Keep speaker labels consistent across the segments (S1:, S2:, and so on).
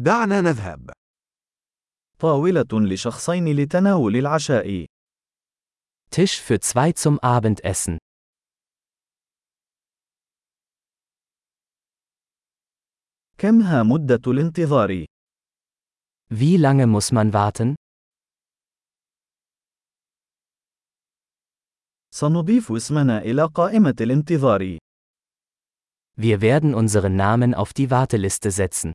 S1: دعنا نذهب.
S2: طاولة لشخصين لتناول العشاء.
S3: Tisch für zwei zum Abendessen.
S2: كم ها مدة الانتظار؟
S3: Wie lange muss man warten?
S2: سنضيف اسمنا إلى قائمة الانتظار.
S3: Wir werden unseren Namen auf die Warteliste setzen.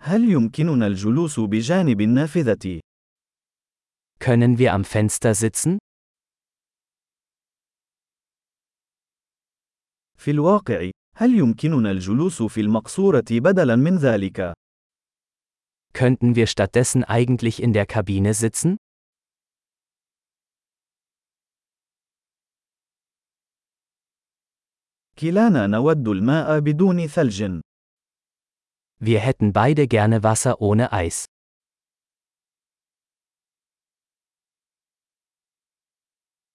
S2: هل يمكننا الجلوس بجانب النافذة؟
S3: Können wir am Fenster sitzen?
S2: في الواقع، هل يمكننا الجلوس في المقصورة بدلاً من ذلك؟
S3: Könnten wir stattdessen eigentlich in der Kabine sitzen?
S2: كلانا نود الماء بدون ثلج.
S3: Wir hätten beide gerne Wasser ohne Eis.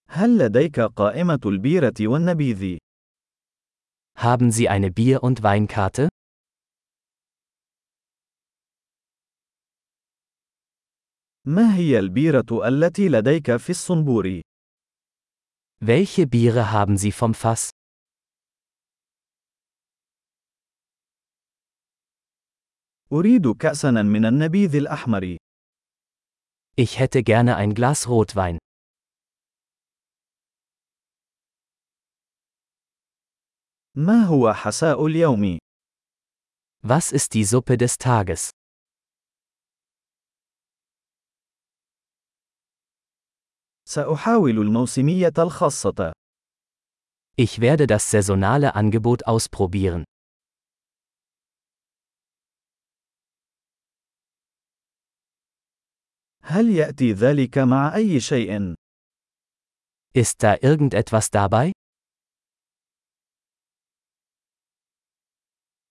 S2: هل لديك قائمة البيرة والنبيذ؟
S3: Haben Sie eine Bier- und Weinkarte?
S2: ما هي البيرة التي لديك في الصنبور؟
S3: Welche Biere haben Sie vom Fass?
S2: أريد كأساً من النبيذ الأحمر.
S3: Ich hätte gerne ein Glas Rotwein.
S2: ما هو حساء اليوم؟
S3: Was ist die Suppe des Tages?
S2: سأحاول الموسمية الخاصة.
S3: Ich werde das saisonale Angebot ausprobieren.
S2: هل يأتي ذلك مع أي شيء؟
S3: Ist da irgendetwas dabei?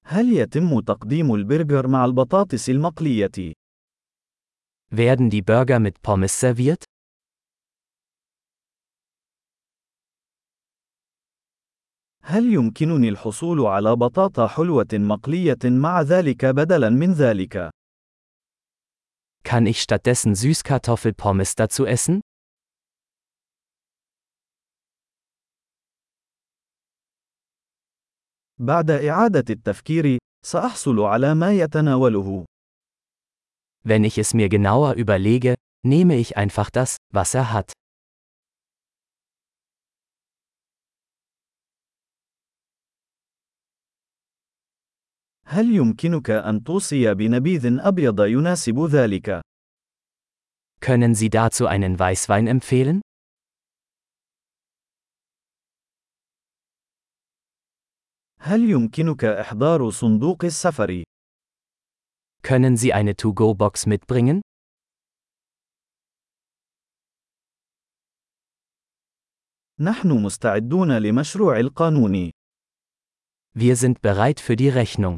S2: هل يتم تقديم البرجر مع البطاطس المقلية؟
S3: Werden die Burger mit Pommes serviert?
S2: هل يمكنني الحصول على بطاطا حلوة مقلية مع ذلك بدلاً من ذلك؟
S3: Kann ich stattdessen Süßkartoffelpommes dazu essen?
S2: بعد إعادة التفكير، سأحصل على ما يتناوله.
S3: Wenn ich es mir genauer überlege, nehme ich einfach das, was er hat.
S2: هل يمكنك أن توصي بنبيذ أبيض يناسب ذلك؟
S3: Können Sie dazu einen Weißwein empfehlen?
S2: هل يمكنك إحضار صندوق السفر؟
S3: Können Sie eine To-Go-Box mitbringen?
S2: نحن مستعدون لمشروع القانون.
S3: Wir sind bereit für die Rechnung.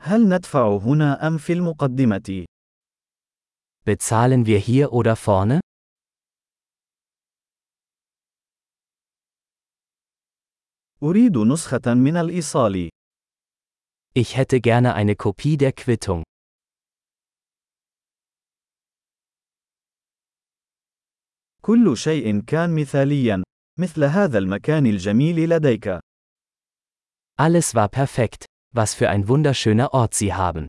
S2: هل ندفع هنا أم في المقدمة؟
S3: Bezahlen wir hier oder vorne?
S2: أريد نسخة من الإيصال.
S3: Ich hätte gerne eine Kopie der Quittung.
S2: كل شيء كان مثاليا، مثل هذا المكان الجميل لديك.
S3: Alles war perfekt. Was für ein wunderschöner Ort Sie haben.